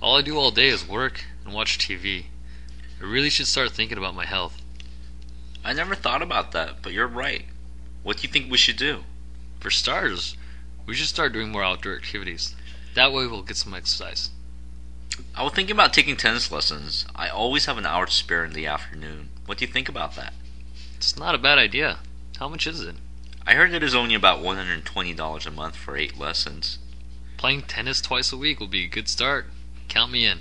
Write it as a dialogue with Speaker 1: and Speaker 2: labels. Speaker 1: All I do all day is work and watch TV. I really should start thinking about my health.
Speaker 2: I never thought about that, but you're right. What do you think we should do?
Speaker 1: For starters, we should start doing more outdoor activities. That way we'll get some exercise.
Speaker 2: I was thinking about taking tennis lessons. I always have an hour to spare in the afternoon. What do you think about that?
Speaker 1: It's not a bad idea. How much is it?
Speaker 2: I heard it is only about $120 a month for eight lessons.
Speaker 1: Playing tennis twice a week will be a good start. Count me in.